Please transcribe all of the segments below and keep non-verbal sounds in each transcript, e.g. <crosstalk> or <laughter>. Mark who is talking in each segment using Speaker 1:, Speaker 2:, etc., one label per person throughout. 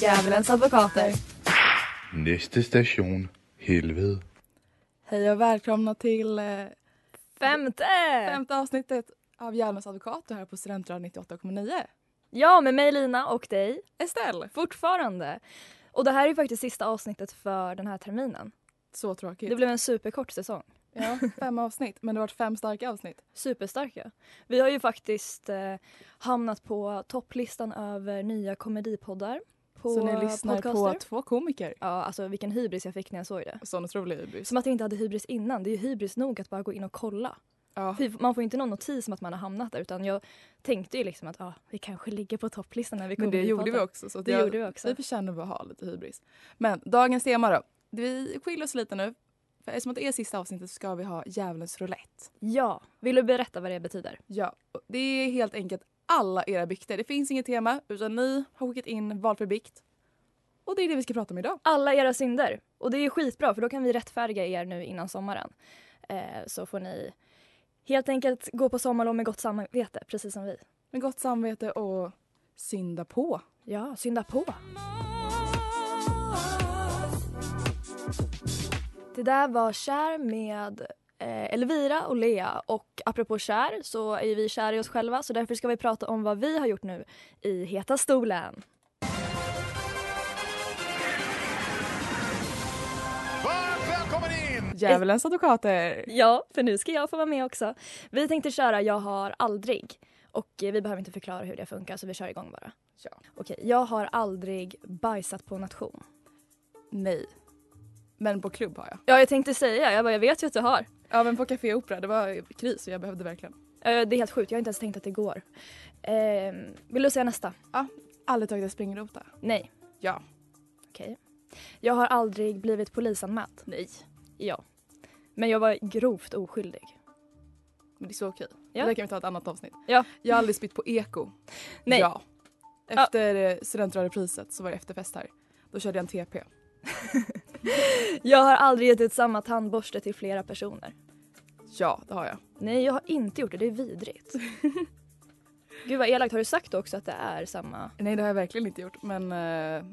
Speaker 1: Djävulens advokater.
Speaker 2: Næste station, helvede.
Speaker 3: Hej och välkomna till eh,
Speaker 4: Femte!
Speaker 3: femte avsnittet av Djävulens advokat och här på Studentradion 98,9.
Speaker 4: Ja, med mig Lina och dig
Speaker 3: Estelle!
Speaker 4: fortfarande. Och det här är ju faktiskt sista avsnittet för den här terminen.
Speaker 3: Så tråkigt.
Speaker 4: Det blev en superkort säsong.
Speaker 3: ja, fem avsnitt, men det har varit fem starka avsnitt.
Speaker 4: Superstarka. Vi har ju faktiskt eh, hamnat på topplistan över nya komedipoddar. På
Speaker 3: så ni lyssnar
Speaker 4: podcaster.
Speaker 3: på två komiker.
Speaker 4: Ja, alltså vilken hybris jag fick när jag såg det.
Speaker 3: Sån otrolig hybris.
Speaker 4: Som att jag inte hade hybris innan. Det är ju hybris nog att bara gå in och kolla.
Speaker 3: Ja.
Speaker 4: Fy, Man får ju inte någon notis om att man har hamnat där utan jag tänkte ju liksom att ah, vi kanske ligger på topplistan när vi
Speaker 3: Men
Speaker 4: kommer
Speaker 3: det
Speaker 4: i
Speaker 3: gjorde vi
Speaker 4: podden.
Speaker 3: också. Så att
Speaker 4: Det
Speaker 3: jag,
Speaker 4: gjorde vi också.
Speaker 3: Vi förtjänar bara att ha lite hybris. Men dagens tema då. Vi skiljer oss lite nu. För eftersom att det är sista avsnittet så ska vi ha djävulens roulette.
Speaker 4: Ja, vill du berätta vad det betyder?
Speaker 3: Ja, och det är helt enkelt alla era bikter. Det finns inget tema utan ni har skickat in valfri bikt. Och det är det vi ska prata om idag.
Speaker 4: alla era synder. Och det är skitbra för då kan vi rättfärdiga er nu innan sommaren. Eh, så får ni helt enkelt gå på sommarlov med gott samvete, precis som vi.
Speaker 3: Med gott samvete och synda på.
Speaker 4: Ja, synda på. Det där var Kär med eh, Elvira och Lea. Och apropå kär så är ju vi kära i oss själva så därför ska vi prata om vad vi har gjort nu i Heta stolen.
Speaker 3: Djävulens advokater.
Speaker 4: Ja, för nu ska jag få vara med också. Vi tänkte köra Jag har aldrig. Och eh, vi behöver inte förklara hur det funkar så vi kör igång bara.
Speaker 3: Ja.
Speaker 4: Okej, jag har aldrig bajsat på nation.
Speaker 3: Nej. Men på klubb har jag.
Speaker 4: Ja, jag tänkte säga. Jag bara, jag vet ju att du har.
Speaker 3: Ja men på Café Opera, det var kris och jag behövde verkligen.
Speaker 4: Eh, Det är helt sjukt, jag har inte ens tänkt att det går. Eh, vill du säga nästa?
Speaker 3: Aldrig tagit en springrota.
Speaker 4: Nej.
Speaker 3: Ja.
Speaker 4: Okej. Jag har aldrig blivit polisanmäld. Nej. Ja. Men jag var grovt oskyldig.
Speaker 3: Men det är så okej.
Speaker 4: Ja.
Speaker 3: Det där kan vi ta ett annat avsnitt.
Speaker 4: Ja.
Speaker 3: Jag har aldrig spytt på eko.
Speaker 4: Nej.
Speaker 3: Ja. Efter ja. studentradiopriset så var det efterfest här. Då körde jag en TP.
Speaker 4: Jag har aldrig gett ut samma tandborste till flera personer.
Speaker 3: Ja, det har jag.
Speaker 4: Nej, jag har inte gjort det. Det är vidrigt. <laughs> Gud vad elakt. Har du sagt också att det är samma?
Speaker 3: Nej, det har jag verkligen inte gjort. Men... eh,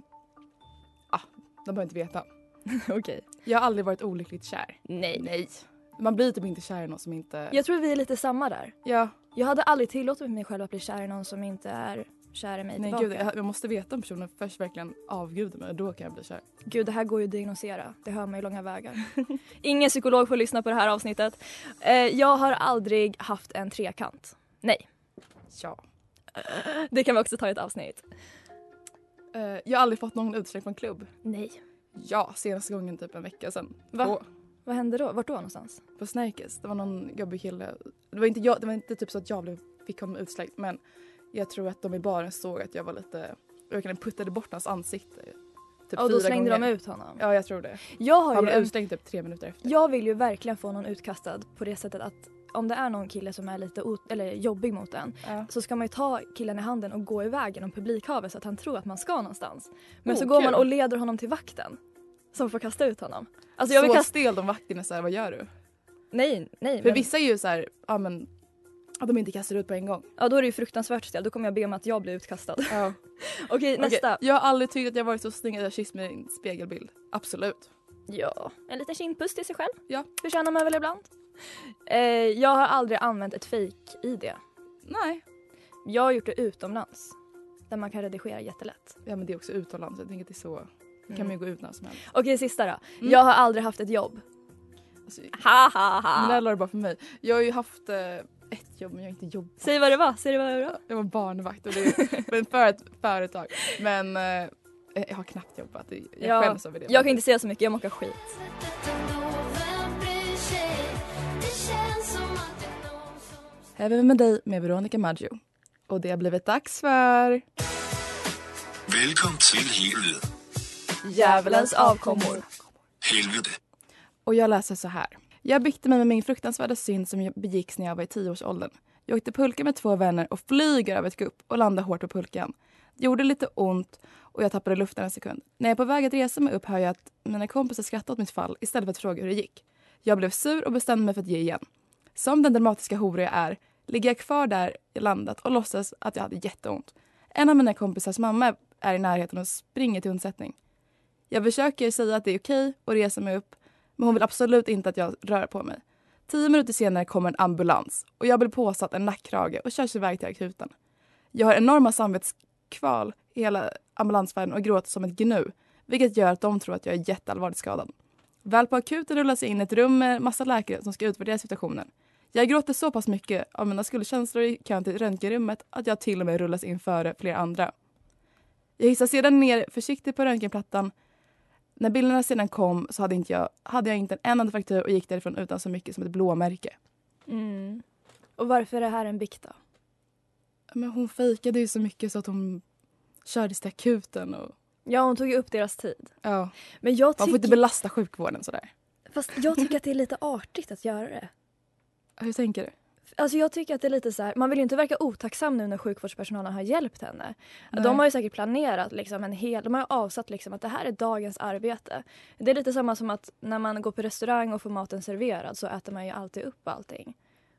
Speaker 3: ah, de behöver inte veta.
Speaker 4: <laughs> Okej.
Speaker 3: Jag har aldrig varit olyckligt kär.
Speaker 4: Nej. Nej.
Speaker 3: Man blir typ inte kär i någon som inte...
Speaker 4: Jag tror vi är lite samma där.
Speaker 3: ja
Speaker 4: Jag hade aldrig tillåtit mig själv att bli kär i någon som inte är kär i mig
Speaker 3: nej
Speaker 4: tillbaka.
Speaker 3: gud, jag, jag måste veta om personen först verkligen avgudar mig. Då kan jag bli kär.
Speaker 4: Gud, det här går ju att diagnosera. Det hör man ju långa vägar. <laughs> Ingen psykolog får lyssna på det här avsnittet. Eh, jag har aldrig haft en trekant. Nej,
Speaker 3: Ja.
Speaker 4: det kan vi också ta i ett avsnitt.
Speaker 3: Eh, jag har aldrig fått någon utsträckt från klubb.
Speaker 4: Nej.
Speaker 3: Ja, senaste gången typ en vecka sedan.
Speaker 4: Va?
Speaker 3: På,
Speaker 4: Vad hände då? Vart då någonstans?
Speaker 3: på Snärkes. Det var någon gubbig kille. Det var inte, jag, det var inte typ så att jag blev, fick honom utsläckt men jag tror att de i baren såg att jag var lite... Verkligen puttade bort hans ansikte. Typ
Speaker 4: Ja, då
Speaker 3: fyra
Speaker 4: slängde
Speaker 3: gånger.
Speaker 4: de ut honom.
Speaker 3: Ja, jag tror det.
Speaker 4: Jag har
Speaker 3: Han
Speaker 4: ju
Speaker 3: blev
Speaker 4: en
Speaker 3: utslängd typ tre minuter efter.
Speaker 4: Jag vill ju verkligen få någon utkastad på det sättet att om det är någon kille som är lite o- eller jobbig mot en
Speaker 3: Ja.
Speaker 4: så ska man ju ta killen i handen och gå iväg genom publikhavet så att han tror att man ska någonstans. Men
Speaker 3: Oh,
Speaker 4: så går
Speaker 3: kul.
Speaker 4: man och leder honom till vakten som får kasta ut honom. Alltså jag vill
Speaker 3: så
Speaker 4: kasta...
Speaker 3: stel de vakterna är så här, vad gör du?
Speaker 4: Nej, nej.
Speaker 3: För
Speaker 4: men-
Speaker 3: vissa är ju så här, ja men att de inte kastar ut på en gång.
Speaker 4: Ja, då är det ju fruktansvärt stel. Då kommer jag be om att jag blir utkastad.
Speaker 3: Ja.
Speaker 4: <laughs> Okej, nästa.
Speaker 3: Jag har aldrig tyckt att jag varit så snygg att jag kysst min spegelbild. Absolut.
Speaker 4: Ja, en liten kindpuss till sig själv.
Speaker 3: Ja.
Speaker 4: Förtjänar man väl ibland. Eh, jag har aldrig använt ett fake-id.
Speaker 3: Nej.
Speaker 4: Jag har gjort det utomlands där man kan redigera jättelätt.
Speaker 3: Ja men det är också utomlands, jag tänker att det är så. Då
Speaker 4: Mm.
Speaker 3: kan man ju Mm. gå ut när som helst.
Speaker 4: Okej, sista då. Jag har aldrig haft ett jobb.
Speaker 3: Alltså,
Speaker 4: Ha, ha,
Speaker 3: Men det
Speaker 4: ha.
Speaker 3: här la du bara för mig. Jag har ju haft eh, ett jobb men jag har inte jobbat.
Speaker 4: Säg vad det var. Säg vad det var.
Speaker 3: Jag var barnvakt och
Speaker 4: <laughs>
Speaker 3: det men för ett företag. Men eh, jag har knappt jobbat. Jag
Speaker 4: Ja,
Speaker 3: skäms över det.
Speaker 4: Jag kan inte säga så mycket, jag mockar skit.
Speaker 5: Vem bryr sig? Det känns som att det är någon som...
Speaker 3: är vi med dig med Veronica Maggio. Och det har blivit dags för...
Speaker 5: Velkommen til Helvede.
Speaker 4: Djävulens avkommor.
Speaker 5: Helvede.
Speaker 3: Och jag läser så här. Jag biktar mig med min fruktansvärda synd som jag begicks när jag var i tioårsåldern. Jag åkte pulka med två vänner och flyger över ett gupp och landar hårt på pulkan. Det gjorde lite ont och jag tappade luften en sekund. När jag är på väg att resa mig upp hör jag att mina kompisar skrattar åt mitt fall istället för att fråga hur det gick. Jag blev sur och bestämde mig för att ge igen. Som den dramatiska hora jag är ligger jag kvar där jag landat och låtsas att jag hade jätteont. En av mina kompisars mamma är i närheten och springer till undsättning. Jag försöker säga att det är okej och reser mig upp men hon vill absolut inte att jag rör på mig. Tio minuter senare kommer en ambulans och jag blir påsatt en nackkrage och körs iväg till akuten. Jag har enorma samvetskval i hela ambulansfärden och gråter som ett gnu vilket gör att de tror att jag är jätteallvarligt skadad. Väl på akuten rullas jag in i ett rum med massa läkare som ska utvärdera situationen. Jag gråter så pass mycket av mina skuldkänslor i kön till röntgenrummet att jag till och med rullas in före flera andra. Jag hissar sedan ner försiktigt på röntgenplattan när bilderna sedan kom så hade, inte jag, hade jag inte en enda fraktur och gick därifrån utan så mycket som ett blåmärke.
Speaker 4: Mm. Och varför är det här en bikt då?
Speaker 3: Men hon fejkade ju så mycket så att hon kördes till akuten. Och,
Speaker 4: Ja, hon tog ju upp deras tid.
Speaker 3: ja.
Speaker 4: Men jag
Speaker 3: Man
Speaker 4: tycker,
Speaker 3: får inte belasta sjukvården sådär.
Speaker 4: fast jag tycker att det är lite artigt att göra det.
Speaker 3: Hur tänker du?
Speaker 4: Alltså jag tycker att det är lite så här, man vill ju inte verka otacksam nu när sjukvårdspersonalen har hjälpt henne.
Speaker 3: Nej.
Speaker 4: De har ju säkert planerat liksom en hel, de har ju avsatt liksom att det här är dagens arbete. Det är lite samma som att när man går på restaurang och får maten serverad så äter man ju alltid upp allting.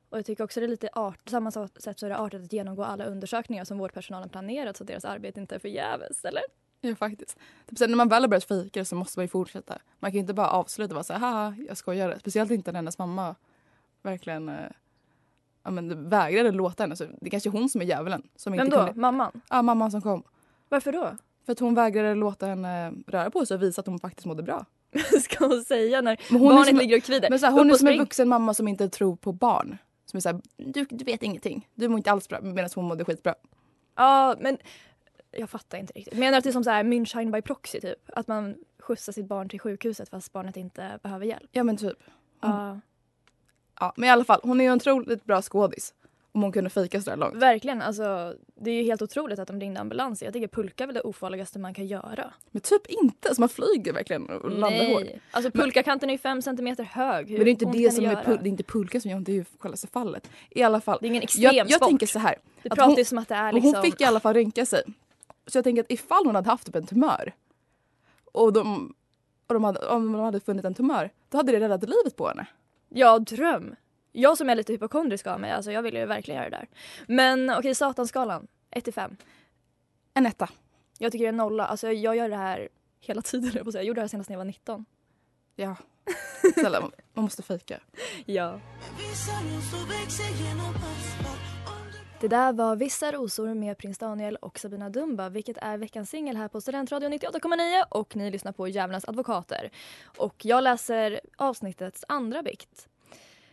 Speaker 4: Och jag tycker också det är lite art, samma så- sätt så är det artigt att genomgå alla undersökningar som vårdpersonalen planerat så att deras arbete inte är förgäves, eller?
Speaker 3: Ja, faktiskt. Typ sen när man väl har börjat fejka det så måste man ju fortsätta. Man kan ju inte bara avsluta och vara såhär, haha, jag skojar. Speciellt inte när hennes mamma verkligen eh, ja, men, vägrade låta henne. Så det är kanske hon som är djävulen. Som
Speaker 4: Vem
Speaker 3: inte
Speaker 4: då?
Speaker 3: kunde-
Speaker 4: Mamman?
Speaker 3: Ja, mamman som kom.
Speaker 4: Varför då? <laughs>
Speaker 3: För att hon vägrade låta henne röra på sig och visa att hon faktiskt mådde bra.
Speaker 4: Ska hon säga när
Speaker 3: Men hon är
Speaker 4: barnet
Speaker 3: som-
Speaker 4: ligger och kvider?
Speaker 3: Men så här, hon
Speaker 4: Upp
Speaker 3: är
Speaker 4: och
Speaker 3: som en
Speaker 4: spring.
Speaker 3: vuxen mamma som inte tror på barn. Som är så här, du, du vet ingenting. Du mår inte alls bra. Medan hon mådde skitbra.
Speaker 4: Ja, men jag fattar inte riktigt. Menar du att det är som så här Münchheim by proxy typ? Att man skjutsar sitt barn till sjukhuset fast barnet inte behöver hjälp?
Speaker 3: Ja men typ.
Speaker 4: Ja,
Speaker 3: Ja, men i alla fall, hon är ju en otroligt bra skådis. Om hon kunde fejka sådär långt.
Speaker 4: verkligen, alltså det är ju helt otroligt att de ringde ambulans. Jag tycker pulka är väl det ofarligaste man kan göra.
Speaker 3: Men typ inte. Alltså man flyger verkligen och landar hårt.
Speaker 4: Alltså pulkakanten är ju fem centimeter hög. Hur
Speaker 3: Men det är inte
Speaker 4: ont
Speaker 3: det
Speaker 4: kan
Speaker 3: som är,
Speaker 4: göra?
Speaker 3: pul- det är inte pulka som gör ont, det är ju själva fallet. I alla fall.
Speaker 4: Det är ingen
Speaker 3: Jag,
Speaker 4: extremsport.
Speaker 3: jag tänker så här.
Speaker 4: det
Speaker 3: att
Speaker 4: pratar
Speaker 3: hon-
Speaker 4: ju som att det är
Speaker 3: Och
Speaker 4: liksom...
Speaker 3: Hon fick i alla fall rynka sig. Så jag tänker att ifall hon hade haft typ en tumör och, de, och de hade, om de hade funnit en tumör, då hade det räddat livet på henne.
Speaker 4: Ja, dröm. Jag som är lite hypokondrisk av mig, alltså jag vill ju verkligen göra det där. Men okej, satanskalan. 1 till 5.
Speaker 3: En etta.
Speaker 4: Jag tycker det är en nolla. Alltså jag gör det här hela tiden, höll jag på att säga. jag gjorde det här senast när jag var 19.
Speaker 3: <laughs> Ja. Snälla, man- man måste fejka.
Speaker 4: Ja. Det där var Vissa rosor med Prins Daniel och Sabina Dumba vilket är veckans singel här på Studentradion 98,9 och ni lyssnar på Djävulens advokater. Och jag läser avsnittets andra bikt.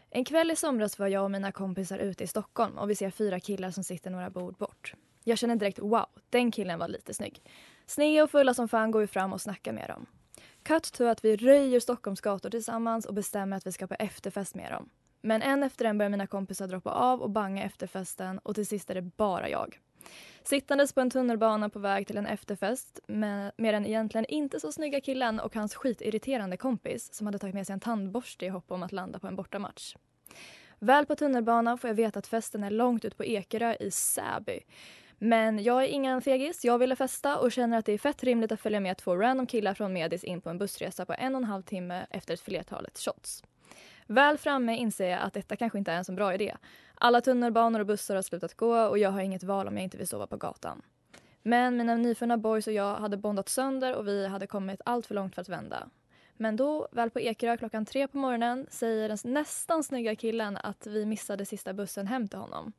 Speaker 4: En kväll i somras var jag och mina kompisar ute i Stockholm och vi ser fyra killar som sitter några bord bort. Jag känner direkt wow, den killen var lite snygg. Snea och fulla som fan går vi fram och snackar med dem. Cut to att vi röjer Stockholms gator tillsammans och bestämmer att vi ska på efterfest med dem. Men en efter en börjar mina kompisar droppa av och banga efterfesten och till sist är det bara jag. Sittandes på en tunnelbana på väg till en efterfest med, med den egentligen inte så snygga killen och hans skitirriterande kompis som hade tagit med sig en tandborste i hopp om att landa på en bortamatch. Väl på tunnelbanan får jag veta att festen är långt ut på Ekerö i Säby. Men jag är ingen fegis, jag ville festa och känner att det är fett rimligt att följa med två random killar från Medis in på en bussresa på en och en halv timme efter ett flertalet shots. Väl framme inser jag att detta kanske inte är en så bra idé. Alla tunnelbanor och bussar har slutat gå och jag har inget val om jag inte vill sova på gatan. Men mina nyfunna boys och jag hade bondat sönder och vi hade kommit allt för långt för att vända. Men då, väl på Ekerö klockan tre på morgonen, säger den nästan snygga killen att vi missade sista bussen hem till honom.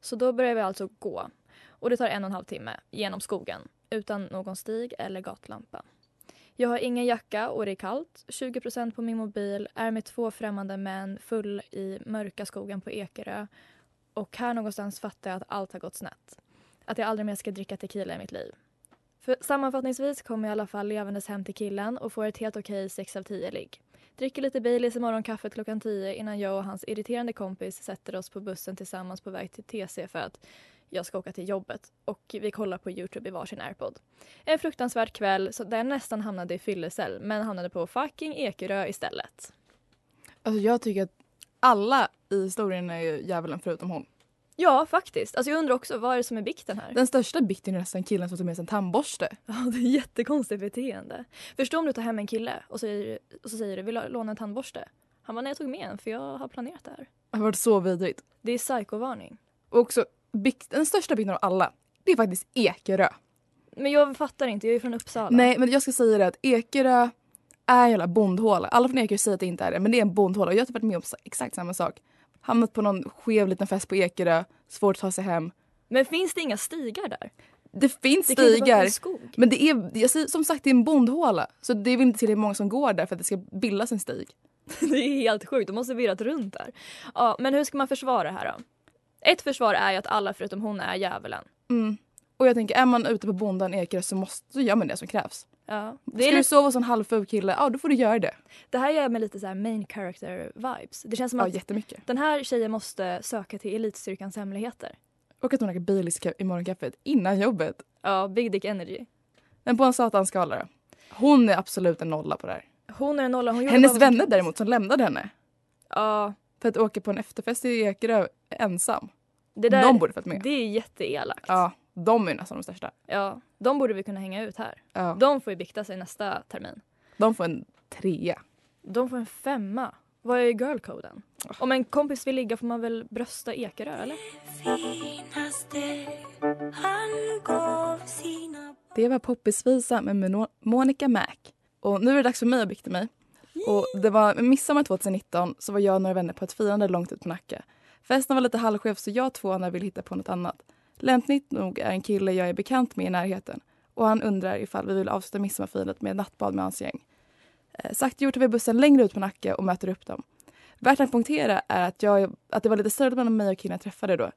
Speaker 4: Så då börjar vi alltså gå. Och det tar en och en halv timme, genom skogen, utan någon stig eller gatlampa. Jag har ingen jacka och det är kallt, 20 på min mobil, är med två främmande män, full i mörka skogen på Ekerö. Och här någonstans fattar jag att allt har gått snett. Att jag aldrig mer ska dricka tequila i mitt liv. För sammanfattningsvis kommer jag i alla fall levandes hem till killen och får ett helt okej 6 av 10 ligg. Dricker lite Baileys i morgonkaffet klockan 10 innan jag och hans irriterande kompis sätter oss på bussen tillsammans på väg till TC för att jag ska åka till jobbet och vi kollar på Youtube i varsin airpod. En fruktansvärd kväll så där jag nästan hamnade i fyllecell men hamnade på fucking Ekerö istället.
Speaker 3: Alltså jag tycker att alla i historien är ju djävulen förutom hon.
Speaker 4: Ja, faktiskt. Alltså jag undrar också, vad är det som är bikten här?
Speaker 3: Den största bikten är nästan killen som tog med sig en tandborste.
Speaker 4: Ja, det är jättekonstigt beteende. Förstå om du tar hem en kille och, säger, och så säger du, vill du låna en tandborste? Han bara, nej jag tog med en för jag har planerat det här.
Speaker 3: Det har varit så vidrigt.
Speaker 4: Det är psykovarning.
Speaker 3: Och också bikt, den största bikten av alla, det är faktiskt Ekerö.
Speaker 4: Men jag fattar inte, jag är ju från Uppsala.
Speaker 3: Nej men jag ska säga det att Ekerö är en jävla bondhåla. Alla från Ekerö säger att det inte är det men det är en bondhåla. Och Jag har typ varit med om sa- exakt samma sak. Hamnat på någon skev liten fest på Ekerö, svårt att ta sig hem.
Speaker 4: Men finns det inga stigar där?
Speaker 3: Det finns
Speaker 4: Det kan ju inte vara
Speaker 3: stigar.
Speaker 4: en skog. <laughs>
Speaker 3: Men det är, jag säger, som sagt det är en bondhåla. Så det är väl inte tillräckligt många som går där för att det ska bildas en stig.
Speaker 4: Det är helt sjukt, de måste ha virrat runt där. Ja, men hur ska man försvara det här då? Ett försvar är ju att alla förutom hon är djävulen.
Speaker 3: Mm. Och jag tänker, är man ute på bondan Ekerö så, måste, så gör man det som krävs.
Speaker 4: Ja.
Speaker 3: Ska
Speaker 4: Det, är
Speaker 3: du
Speaker 4: lite,
Speaker 3: sova hos en halvful kille, ja då får du göra det.
Speaker 4: det här gör mig lite så här main character vibes. Det känns som
Speaker 3: Ja,
Speaker 4: att
Speaker 3: jättemycket.
Speaker 4: den här tjejen måste söka till elitstyrkans hemligheter.
Speaker 3: Och att hon åker Baileys ka- i morgonkaffet innan jobbet.
Speaker 4: Ja, big dick energy.
Speaker 3: Men på en satanskala då. Hon är absolut en nolla på det här.
Speaker 4: Hon är en nolla, hon gjorde bara
Speaker 3: Hennes
Speaker 4: vad hon
Speaker 3: vänner
Speaker 4: kunde.
Speaker 3: däremot som lämnade henne
Speaker 4: Ja,
Speaker 3: för att åka på en efterfest i Ekerö ensam.
Speaker 4: det där,
Speaker 3: de borde fått med.
Speaker 4: det är jätteelakt.
Speaker 3: Ja, de är nästan de största.
Speaker 4: ja. De borde vi kunna hänga ut här.
Speaker 3: Ja. De...
Speaker 4: De får ju bikta sig nästa termin.
Speaker 3: får en trea.
Speaker 4: De får en femma. Vad är girlcoden? Om en kompis vill ligga får man väl brösta Ekerö eller?
Speaker 3: Det var Poppisvisa med Mono- Monica Mac. Och nu är det dags för mig att bikta mig. Och det var midsommar 2019 så var jag och några vänner på ett firande långt ut på Nacka. Festen var lite halvskev så jag och två andra ville hitta på något annat. Lämpligt nog är en kille jag är bekant med i närheten och han undrar ifall vi vill avsluta midsommarfirandet med nattbad med hans gäng. Eh, sagt gjort tar vi bussen längre ut på Nacka och möter upp dem. Värt att poängtera är att, jag, att det var lite större mellan mig och killen jag träffade då.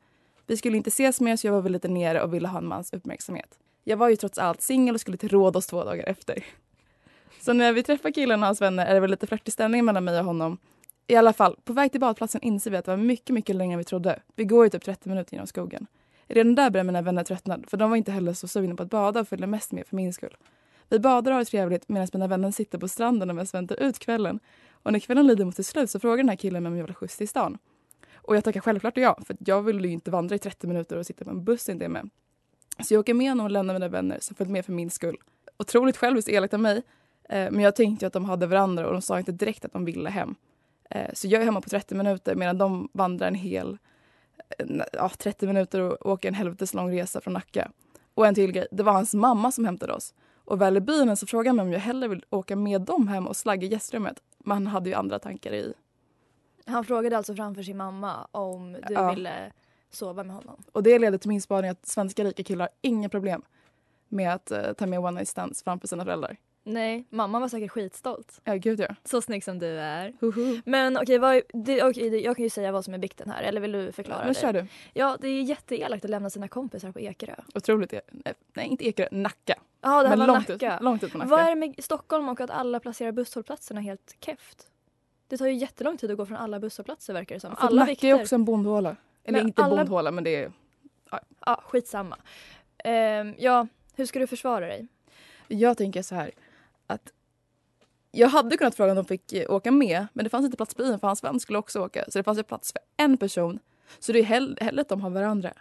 Speaker 3: Vi skulle inte ses mer så jag var väl lite nere och ville ha en mans uppmärksamhet. Jag var ju trots allt singel och skulle till Rhodos två dagar efter. Så när vi träffar killen och hans vänner är det väl lite flörtig stämning mellan mig och honom. I alla fall, på väg till badplatsen inser vi att det var mycket, mycket längre än vi trodde. Vi går ju typ 30 minuter genom skogen. Redan där börjar mina vänner tröttna för de var inte heller så sugna på att bada och följde mest med för min skull. Vi badar och har det trevligt medan mina vänner sitter på stranden och mest väntar ut kvällen. Och när kvällen lider mot sitt slut så frågar den här killen mig om jag vill ha skjuts till stan. Och jag tackar självklart ja, för att jag vill ju inte vandra i 30 minuter och sitta på en buss inte är med. Så jag åker med honom och lämnar mina vänner som följt med för min skull. Otroligt själviskt elakt av mig, eh, men jag tänkte ju att de hade varandra och de sa inte direkt att de ville hem. Eh, Så jag är hemma på 30 minuter medan de vandrar en hel, eh, n- ja 30 minuter och åker en helvetes lång resa från Nacka. Och en till grej, det var hans mamma som hämtade oss. Och väl i bilen så frågade han mig om jag hellre vill åka med dem hem och slagga i gästrummet. Men han hade ju andra tankar i.
Speaker 4: Han frågade alltså framför sin mamma om du
Speaker 3: Ja.
Speaker 4: ville sova med honom.
Speaker 3: Och det leder till min spaning att svenska rika killar har inga problem med att eh, ta med one night stands framför sina föräldrar.
Speaker 4: Nej, mamma var säkert skitstolt.
Speaker 3: Ja, gud ja.
Speaker 4: Så snygg som du är.
Speaker 3: Huhu.
Speaker 4: Men okej, vad, det, okej det, jag kan ju säga vad som är bikten här. Eller vill du förklara
Speaker 3: Men
Speaker 4: dig?
Speaker 3: kör du.
Speaker 4: Ja, det är jätteelakt att lämna sina kompisar på Ekerö.
Speaker 3: Otroligt. e- nej, Nej, inte Ekerö. Nacka.
Speaker 4: Ja, det här
Speaker 3: Men
Speaker 4: var
Speaker 3: långt
Speaker 4: Nacka.
Speaker 3: ut, långt ut på Nacka.
Speaker 4: Vad är det med Stockholm och att alla placerar busshållplatserna helt keft? Det tar ju jättelång tid att gå från alla busshållplatser verkar det som.
Speaker 3: För att
Speaker 4: alla
Speaker 3: Nacka är också en bondhåla. Eller
Speaker 4: Men
Speaker 3: inte
Speaker 4: alla-
Speaker 3: bondhåla, men det är...
Speaker 4: Ja, skitsamma. Ehm, ja, hur ska du försvara dig?
Speaker 3: Jag tänker så här att jag hade kunnat fråga om de fick eh, åka med men det fanns inte plats på bilen för hans vän skulle också åka. Så det fanns ju plats för en person. Så det är hell- hellre att de har varandra.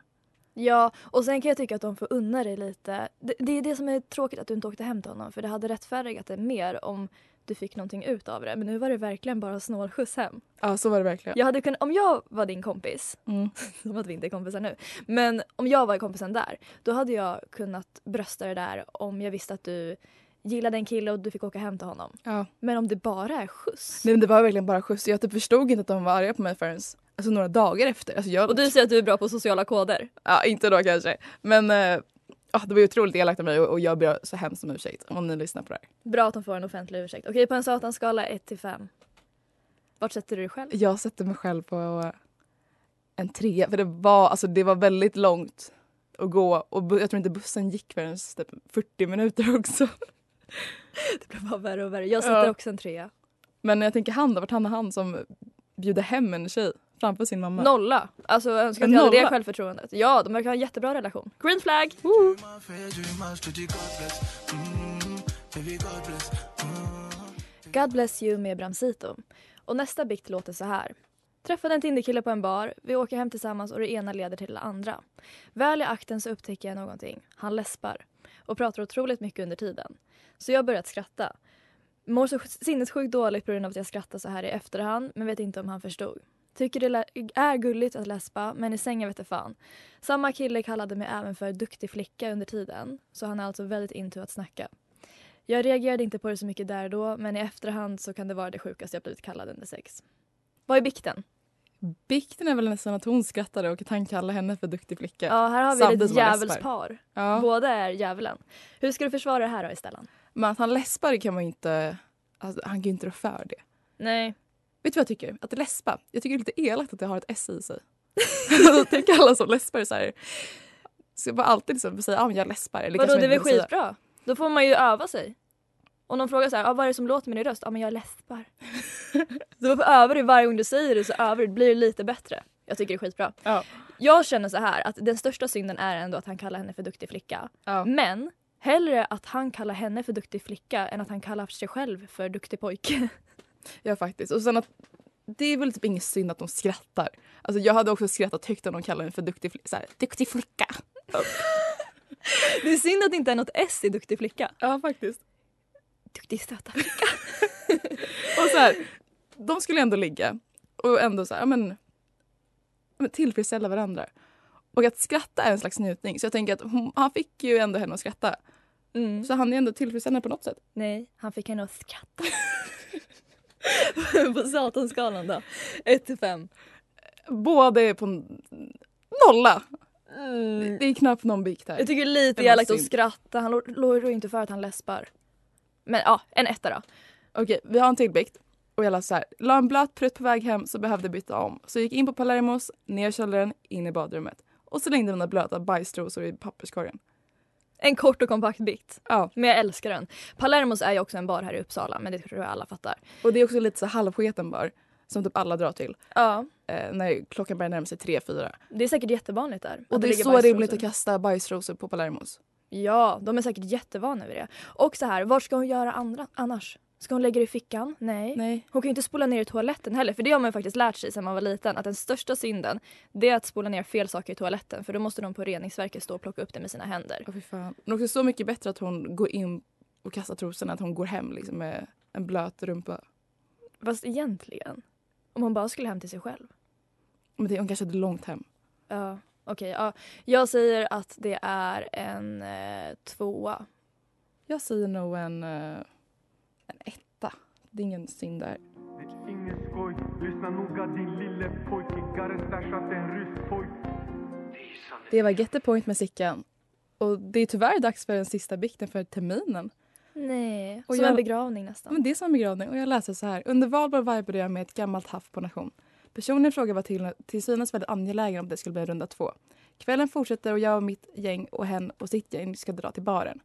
Speaker 4: Ja, och sen kan jag tycka att de får unna dig lite. Det, det är det som är tråkigt att du inte åkte hem till honom för det hade rättfärdigat det mer om du fick någonting ut av det. Men nu var det verkligen bara snålskjuts hem.
Speaker 3: Ja, så var det verkligen.
Speaker 4: Jag hade kunnat, om jag var din kompis,
Speaker 3: Mm.
Speaker 4: <laughs> som att vi inte är kompisar nu, men om jag var kompisen där, då hade jag kunnat brösta det där om jag visste att du gillade en kille och du fick åka hem till honom.
Speaker 3: Ja.
Speaker 4: Men om det bara är skjuts.
Speaker 3: Nej, men det var verkligen bara skjuts. Jag typ förstod inte att de var arga på mig förrän alltså, några dagar efter. Alltså, jag...
Speaker 4: Och du säger att du är bra på sociala koder.
Speaker 3: Ja, inte då kanske. Men eh, ja, det var ju otroligt elakt av mig och, och jag ber så hemskt om ursäkt om ni lyssnar på det här.
Speaker 4: Bra att de får en offentlig ursäkt. Okej, på en satanskala 1 till 5. Vart sätter du dig själv?
Speaker 3: Jag sätter mig själv på eh, en trea för det var, alltså, det var väldigt långt att gå och bu- jag tror inte bussen gick förrän typ 40 minuter <laughs> också.
Speaker 4: Det blir bara värre och värre. Jag sätter
Speaker 3: Ja.
Speaker 4: också en trea.
Speaker 3: Men när jag tänker han då, vart hamnar han som bjuder hem en tjej framför sin mamma?
Speaker 4: Nolla. Alltså jag önskar att jag hade det
Speaker 3: Nolla?
Speaker 4: självförtroendet. Ja, de verkar ha en jättebra relation. Green flag! God bless you med Bramsito. Och nästa bikt låter så här. Träffade en Tinderkille på en bar. Vi åker hem tillsammans och det ena leder till det andra. Väl i akten så upptäcker jag någonting. Han läspar och pratar otroligt mycket under tiden. Så jag har börjat skratta. Mår så sinnessjukt dåligt på grund av att jag skrattar så här i efterhand men vet inte om han förstod. Tycker det lä- är gulligt att läspa men i sängen vet jag fan. Samma kille kallade mig även för duktig flicka under tiden så han är alltså väldigt into att snacka. Jag reagerade inte på det så mycket där och då men i efterhand så kan det vara det sjukaste jag blivit kallad under sex. Vad är bikten?
Speaker 3: Bikten är väl nästan att hon skrattade och att han kallar henne för duktig flicka.
Speaker 4: Ja, här har vi
Speaker 3: Samtidigt
Speaker 4: ett
Speaker 3: som man läspar.
Speaker 4: djävulspar.
Speaker 3: Ja.
Speaker 4: Båda är djävulen. Hur ska du försvara det här då, Stellan?
Speaker 3: Men att han läspar kan man ju inte... Alltså, han kan ju inte rå för det.
Speaker 4: Nej.
Speaker 3: Vet du vad jag tycker? Att läspa. Jag tycker det är lite elakt att det har ett S i sig. <laughs> Alltså, Tänk alla som läspar så här. Ska bara alltid liksom säga ja men jag läspar. Eller
Speaker 4: Vadå,
Speaker 3: kanske
Speaker 4: det är
Speaker 3: man
Speaker 4: väl
Speaker 3: inte borde säga.
Speaker 4: skitbra? Då får man ju öva sig. Om någon frågar så här, ah, vad är det som låter med din röst? Ja, ah, men jag <laughs> läspar. så då övar du varje gång du säger det så övar du, det blir lite bättre. Jag tycker det är skitbra.
Speaker 3: Ja.
Speaker 4: Jag känner så här att den största synden är ändå att han kallar henne för duktig flicka.
Speaker 3: Ja.
Speaker 4: Men hellre att han kallar henne för duktig flicka än att han kallar sig själv för duktig pojke.
Speaker 3: Ja faktiskt. Och sen att det är väl typ ingen synd att de skrattar. Alltså jag hade också skrattat högt om de kallade mig för duktig, fli- så här, duktig flicka.
Speaker 4: <laughs> det är synd att det inte är något S i duktig flicka.
Speaker 3: Ja faktiskt.
Speaker 4: Duktig <laughs> söta.
Speaker 3: Och så här, de skulle ändå ligga och ändå så här, ja, men, ja, men tillfredsställa varandra. Och att skratta är en slags njutning. Så jag tänker att hon, han fick ju ändå henne att skratta.
Speaker 4: Mm.
Speaker 3: Så han är ändå tillfredsställande på något sätt.
Speaker 4: Nej, han fick henne att skratta. <laughs> på satanskalan då. 1 till 5.
Speaker 3: Båda är på en nolla. Det är knappt någon bikt här.
Speaker 4: Jag tycker det är lite
Speaker 3: Det var
Speaker 4: elakt att
Speaker 3: synd.
Speaker 4: skratta. Han lå- lår ju inte för att han läspar. Men ja, en etta då.
Speaker 3: Okej, vi har en till bikt. Och jag läser så här. La en blöt prutt på väg hem så behövde byta om. Så jag gick in på Palermos, ner i källaren, in i badrummet. Och så slängde mina blöta bajstrosor i papperskorgen.
Speaker 4: En kort och kompakt bikt.
Speaker 3: Ja,
Speaker 4: Men jag älskar den. Palermos är ju också en bar här i Uppsala men det tror jag alla fattar.
Speaker 3: och det är också lite så halvsketen bar. Som typ alla drar till.
Speaker 4: Ja,
Speaker 3: Eh, när klockan börjar närma sig tre, fyra.
Speaker 4: det är säkert jättevanligt där.
Speaker 3: Och
Speaker 4: att
Speaker 3: det är
Speaker 4: ligger
Speaker 3: så
Speaker 4: bajsrosor.
Speaker 3: rimligt att kasta bajsrosor på Palermos.
Speaker 4: Ja, de är säkert jättevana vid det. Och så här, var ska hon göra andra, annars? Ska hon lägga det i fickan? Nej.
Speaker 3: Nej.
Speaker 4: Hon kan ju inte spola ner i toaletten heller för det har man ju faktiskt lärt sig sedan man var liten att den största synden det är att spola ner fel saker i toaletten för då måste de på reningsverket stå och plocka upp det med sina händer.
Speaker 3: Åh fy fan. Men också så mycket bättre att hon går in och kastar trosorna. Att hon går hem liksom med en blöt rumpa.
Speaker 4: Fast egentligen, om hon bara skulle hem till sig själv.
Speaker 3: Men det, hon kanske hade långt hem.
Speaker 4: Ja, okej. ja. Jag säger att det är en eh, tvåa.
Speaker 3: Jag säger nog en, eh, en etta. Det är ingen synd där.
Speaker 6: Det är ingen skoj, lyssna noga din lille pojke Garen stashat en rysk pojk
Speaker 3: Det var Get the Point med Sickan. Och det är tyvärr dags för den sista bikten för terminen.
Speaker 4: Nej,
Speaker 3: Och
Speaker 4: som
Speaker 3: jag-
Speaker 4: en begravning nästan.
Speaker 3: Men det är som en begravning och jag läser så här. Under valborg vibade jag med ett gammalt haff på nation. Personen i fråga var till, till synes väldigt angelägen om det skulle bli en runda två. Kvällen fortsätter och jag och mitt gäng och hen och sitt gäng ska dra till baren.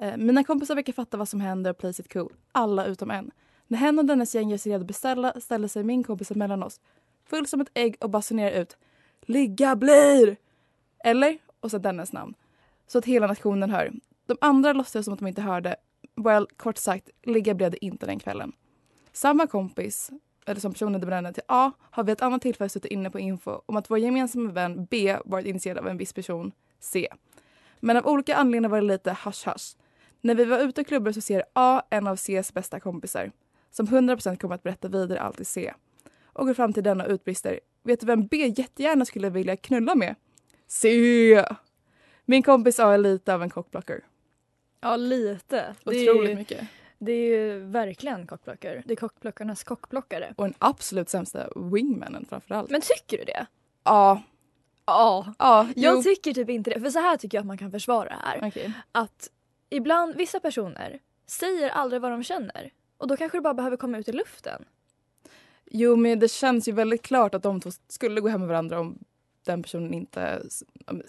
Speaker 3: Eh, mina kompisar verkar fatta vad som händer och plays it cool. Alla utom en. När hen och dennes gäng gör sig redo att beställa ställer sig min kompis mellan oss. Full som ett ägg och basunerar ut. Ligga blir! Eller? Och så dennes namn. Så att hela nationen hör. De andra låtsades som att de inte hörde Well, kort sagt, ligga blev det inte den kvällen. Samma kompis, eller som personen du brände till A, har vid ett annat tillfälle suttit inne på info om att vår gemensamma vän B varit initierad av en viss person, C. Men av olika anledningar var det lite hasch-hasch. När vi var ute och klubbade så ser A en av Cs bästa kompisar som 100% kommer att berätta vidare allt till C. Och går fram till denna och utbrister Vet du vem B jättegärna skulle vilja knulla med? C! Min kompis A är lite av en cockblocker.
Speaker 4: Ja, lite. Det är,
Speaker 3: Otroligt
Speaker 4: ju,
Speaker 3: mycket.
Speaker 4: det är ju verkligen kockblockare. Det är kockblockarnas kockblockare.
Speaker 3: Och den absolut sämsta wingmanen framför allt.
Speaker 4: Men tycker du det?
Speaker 3: Ja.
Speaker 4: Ja.
Speaker 3: Ja,
Speaker 4: Jag
Speaker 3: jo.
Speaker 4: tycker typ inte det. För så här tycker jag att man kan försvara det här.
Speaker 3: Okej.
Speaker 4: Att ibland, vissa personer säger aldrig vad de känner. Och då kanske det bara behöver komma ut i luften.
Speaker 3: Jo, men det känns ju väldigt klart att de två skulle gå hem med varandra om den personen inte s- om-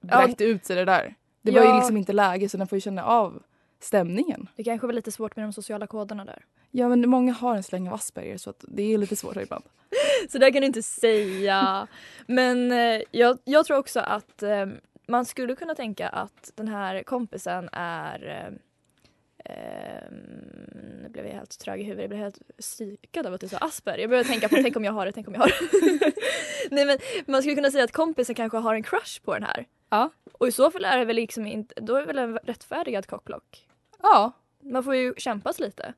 Speaker 3: vräkte ut sig det där. Det var
Speaker 4: Ja.
Speaker 3: ju liksom inte läge så den får ju känna av stämningen.
Speaker 4: Det kanske var lite svårt med de sociala koderna där.
Speaker 3: Ja, men många har en släng av Asperger så att det är lite svårare ibland.
Speaker 4: Så där kan du inte säga. Men eh, jag, jag tror också att eh, man skulle kunna tänka att den här kompisen är... Eh, eh, nu blev jag helt trög i huvudet. Jag blev helt psykad av att du sa Asperger. Jag började tänka på tänk om jag har det, tänk om jag har det. <laughs> Nej men man skulle kunna säga att kompisen kanske har en crush på den här.
Speaker 3: Ja.
Speaker 4: Och i så fall är det väl liksom inte, då är det väl en rättfärdigad kockblock.
Speaker 3: Ja,
Speaker 4: Man får ju kämpas lite.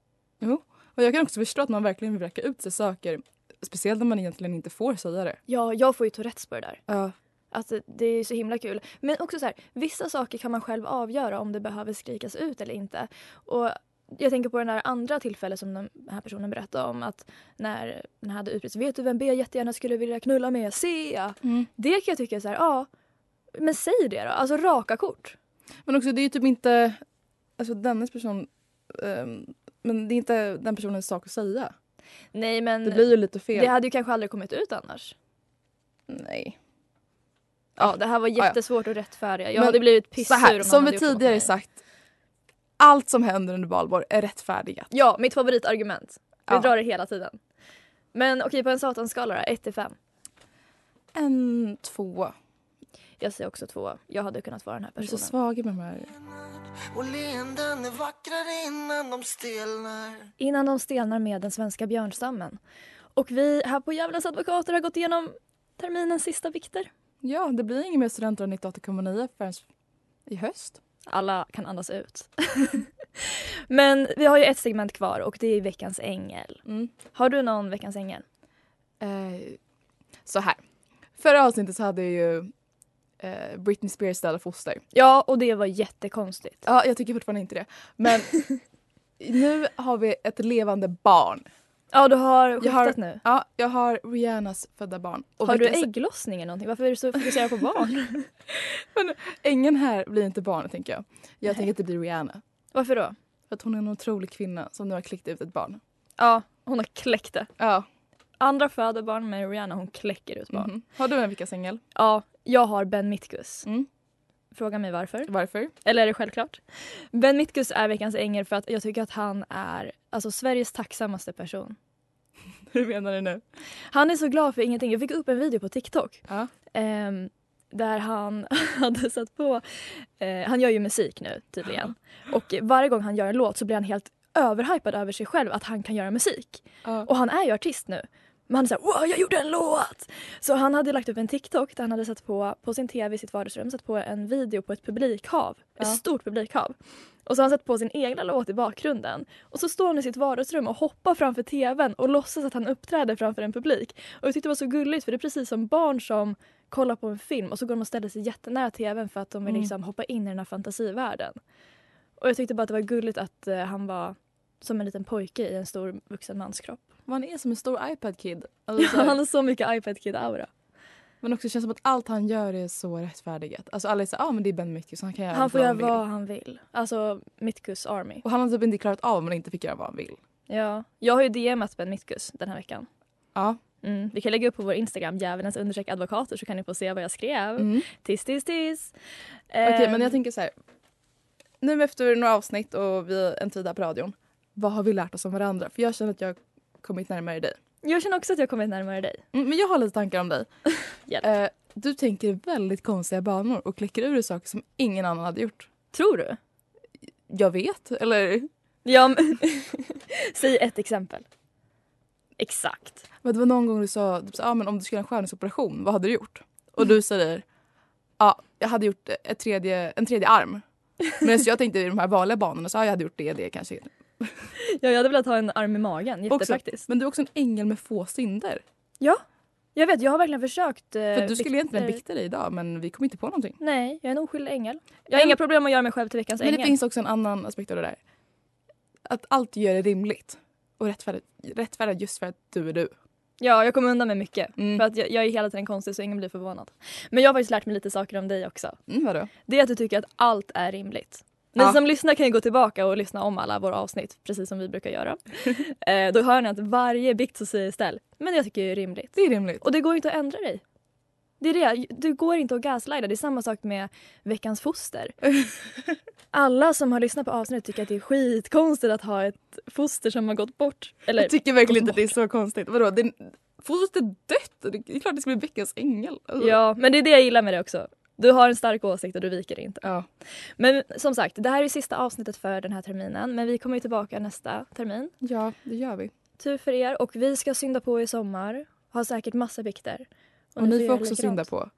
Speaker 3: och jag kan också förstå att man verkligen vill räcka ut sig saker. Speciellt när man egentligen inte får säga det.
Speaker 4: Ja, jag får ju Tourettes på det där.
Speaker 3: Ja,
Speaker 4: Att Alltså, det är så himla kul. Men också så här, vissa saker kan man själv avgöra om det behöver skrikas ut eller inte. Och jag tänker på den där andra tillfället som den här personen berättade om. Att när den här hade utbrytts. Vet du vem B jättegärna skulle vilja knulla med? C!
Speaker 3: Mm.
Speaker 4: Det kan jag tycka är så här, ja. Men säg det då. Alltså raka kort.
Speaker 3: Men också det är ju typ inte, alltså dennes person, ehm, men det är inte den personens sak att säga.
Speaker 4: Nej men
Speaker 3: Det blir ju lite fel.
Speaker 4: det hade ju kanske aldrig kommit ut annars.
Speaker 3: Nej.
Speaker 4: Ja, det här var
Speaker 3: ja.
Speaker 4: jättesvårt att rättfärdiga. Jag
Speaker 3: Men
Speaker 4: hade blivit
Speaker 3: Så
Speaker 4: pissur om
Speaker 3: här,
Speaker 4: någon
Speaker 3: som
Speaker 4: hade
Speaker 3: vi
Speaker 4: gjort något mot
Speaker 3: tidigare
Speaker 4: mig.
Speaker 3: sagt, allt som händer under valborg är rättfärdigat.
Speaker 4: Ja, mitt favoritargument. Vi
Speaker 3: Ja.
Speaker 4: drar det hela tiden. Men okej, på en satanskala då, 1 till 5.
Speaker 3: En tvåa.
Speaker 4: Jag säger också två. Jag hade kunnat vara den här
Speaker 3: Jag är så
Speaker 4: personen.
Speaker 3: svag med de här.
Speaker 7: Och leenden är vackrare innan de stelnar
Speaker 4: Innan de stelnar med den svenska björnstammen. Och vi här på Djävulens advokater har gått igenom terminens sista vikter.
Speaker 3: Ja, det blir inget mer studenter än 98,9 förrän i höst.
Speaker 4: Alla kan andas ut. <laughs> Men vi har ju ett segment kvar och det är veckans ängel.
Speaker 3: Mm.
Speaker 4: Har du någon veckans ängel?
Speaker 3: Eh, så här. Förra avsnittet så hade jag ju eh, Britney Spears döda foster.
Speaker 4: Ja, och det var jättekonstigt.
Speaker 3: Ja, jag tycker fortfarande inte det. Men <laughs> nu har vi ett levande barn.
Speaker 4: Ja, du har skiftat
Speaker 3: har-
Speaker 4: nu.
Speaker 3: Ja, jag har Rihannas födda barn. Och
Speaker 4: har du
Speaker 3: veckans-
Speaker 4: ägglossning eller någonting? Varför är du så fokuserad på <laughs> barn?
Speaker 3: Ängen här blir inte barn, tänker jag. Jag
Speaker 4: Nej.
Speaker 3: tänker att det blir Rihanna.
Speaker 4: Varför då?
Speaker 3: För att hon är en otrolig kvinna som nu har klickt ut ett barn.
Speaker 4: Ja, hon har kläckt det.
Speaker 3: Ja.
Speaker 4: Andra föder barn men Rihanna hon kläcker ut barn.
Speaker 3: mhm. Har du en veckas ängel?
Speaker 4: Ja, jag har Ben Mitkus.
Speaker 3: Mm.
Speaker 4: Fråga mig varför.
Speaker 3: Varför?
Speaker 4: Eller är det självklart? Ben Mitkus är veckans ängel för att jag tycker att han är alltså, Sveriges tacksammaste person.
Speaker 3: <laughs> Hur menar du nu?
Speaker 4: Han är så glad för ingenting. Jag fick upp en video på TikTok
Speaker 3: Ja.
Speaker 4: ehm, där han <laughs> hade satt på... Eh, han gör ju musik nu tydligen. Och varje gång han gör en låt så blir han helt överhypad över sig själv att han kan göra musik.
Speaker 3: Ja.
Speaker 4: Och han är ju artist nu. Men han är såhär wow jag gjorde en låt! Så han hade lagt upp en TikTok där han hade satt på, på sin tv i sitt vardagsrum, satt på en video på ett publikhav.
Speaker 3: Ja.
Speaker 4: Ett stort publikhav. Och så har han satt på sin egna låt i bakgrunden. Och så står han i sitt vardagsrum och hoppar framför tvn och låtsas att han uppträder framför en publik. Och jag tyckte det var så gulligt för det är precis som barn som kollar på en film och så går de och ställer sig jättenära tvn för att de vill
Speaker 3: Mm.
Speaker 4: liksom hoppa in i den här fantasivärlden. Och jag tyckte bara att det var gulligt att eh, han var som en liten pojke i en stor vuxen mans
Speaker 3: <laughs>
Speaker 4: kropp.
Speaker 3: Man är som en stor <laughs> iPad-kid. Alltså,
Speaker 4: Ja,
Speaker 3: så här-
Speaker 4: han har så mycket iPad Kid-aura.
Speaker 3: Men också känns som att allt han gör är så rättfärdigat. Alltså alla är så ja ah, men det är Ben Mitkus, han kan göra
Speaker 4: Han får
Speaker 3: vad
Speaker 4: göra
Speaker 3: han vill.
Speaker 4: vad han vill. Alltså Mitkus Army.
Speaker 3: Och han har typ inte klarat av om han inte fick göra vad han vill.
Speaker 4: Ja, jag har ju DMat Ben Mitkus den här veckan.
Speaker 3: Ja.
Speaker 4: Mm. Vi kan lägga upp på vår Instagram, djävulens understreck advokater, så kan ni få se vad jag skrev.
Speaker 3: Mm.
Speaker 4: Tis, tis, tis. Ehm,
Speaker 3: Okej men jag tänker så här. Nu efter några avsnitt och vi en tid här på radion. Vad har vi lärt oss om varandra? För jag känner att jag har kommit närmare dig.
Speaker 4: jag känner också att jag kommit närmare dig.
Speaker 3: Mm, men jag har lite tankar om dig.
Speaker 4: <laughs> Hjälp.
Speaker 3: Eh, du tänker i väldigt konstiga banor och kläcker ur dig saker som ingen annan hade gjort.
Speaker 4: Tror du?
Speaker 3: Jag vet, eller?
Speaker 4: Ja, men... <laughs> Säg ett exempel. Exakt.
Speaker 3: Men det var någon gång du sa typ, så, ah, men om du skulle göra en skönhetsoperation, vad hade du gjort? Och du säger ja, jag hade gjort ett tredje, en
Speaker 4: <laughs>
Speaker 3: tredje arm. Men jag tänkte i de här vanliga banorna så ah, jag hade gjort det, det kanske.
Speaker 4: Ja, jag hade velat ha en arm i magen.
Speaker 3: Också,
Speaker 4: Jättepraktiskt.
Speaker 3: men du är också en ängel med få synder.
Speaker 4: Jag vet, jag har verkligen försökt. eh, Alltså,
Speaker 3: För du skulle egentligen
Speaker 4: vikter-
Speaker 3: bikta dig idag men vi kom inte på någonting.
Speaker 4: Nej, jag är en oskyldig ängel. Jag har inga problem att göra mig själv till veckans
Speaker 3: Men
Speaker 4: ängel.
Speaker 3: det finns också en annan aspekt av det där. Att allt du gör är rimligt och rättfärdigt, rättfärdigt just för att du är du.
Speaker 4: Ja, jag kommer undan med mycket.
Speaker 3: Mm.
Speaker 4: För att jag, jag är hela tiden konstig så ingen blir förvånad. Men jag har faktiskt lärt mig lite saker om dig också.
Speaker 3: Mm, vadå?
Speaker 4: Det är att du tycker att allt är rimligt. Ni
Speaker 3: Ja.
Speaker 4: som lyssnar kan ju gå tillbaka och lyssna om alla våra avsnitt, precis som vi brukar göra. eh, då hör ni att varje bikt så säger Estelle, men jag tycker det är rimligt.
Speaker 3: Det är rimligt.
Speaker 4: Och det går ju inte att ändra dig. Det är det, du går inte att gaslighta. Det är samma sak med Veckans foster. Alla som har lyssnat på avsnittet tycker att det är skitkonstigt att ha ett foster som har gått bort. Eller,
Speaker 3: Jag tycker verkligen inte att det är så konstigt. Vadå, det, fostret är dött. Det är klart det ska bli veckans ängel. Alltså.
Speaker 4: ja, men det är det jag gillar med det också. Du har en stark åsikt och du viker inte.
Speaker 3: Ja.
Speaker 4: Men som sagt, det här är sista avsnittet för den här terminen. Men vi kommer ju tillbaka nästa termin.
Speaker 3: ja, det gör vi.
Speaker 4: Tur för er. Och vi ska synda på i sommar. Har säkert massa bikter.
Speaker 3: Och ni får
Speaker 4: göra
Speaker 3: också
Speaker 4: likadant.
Speaker 3: synda på.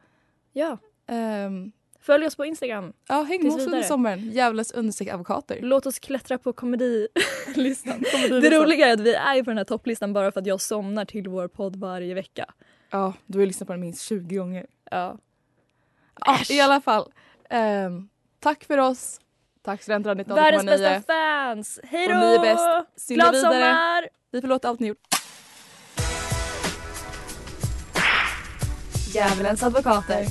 Speaker 4: Ja.
Speaker 3: Ehm,
Speaker 4: Följ oss på Instagram.
Speaker 3: ja, häng med
Speaker 4: Tills
Speaker 3: oss under
Speaker 4: vidare.
Speaker 3: sommaren. Djävulens understreck advokater.
Speaker 4: Låt oss klättra på
Speaker 3: <laughs>
Speaker 4: komedilistan. det roliga är att vi är på den här topplistan bara för att jag somnar till vår podd varje vecka.
Speaker 3: Ja, du har ju lyssnat på den minst 20 gånger.
Speaker 4: Ja.
Speaker 3: Ja, I alla fall. Ehm, tack för oss. Tack Studentrad 1989.
Speaker 4: Världens bästa fans! Hej då!
Speaker 3: Och ni är bäst. Synda
Speaker 4: Glad
Speaker 3: vidare.
Speaker 4: sommar!
Speaker 3: Vi förlåter allt ni gjort.
Speaker 4: Djävulens advokater.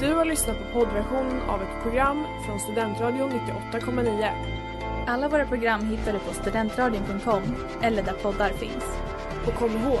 Speaker 8: Du har lyssnat på poddversionen av ett program från Studentradion 98,9
Speaker 1: Alla våra program hittar du på studentradion.com eller där poddar finns.
Speaker 8: och kom ihåg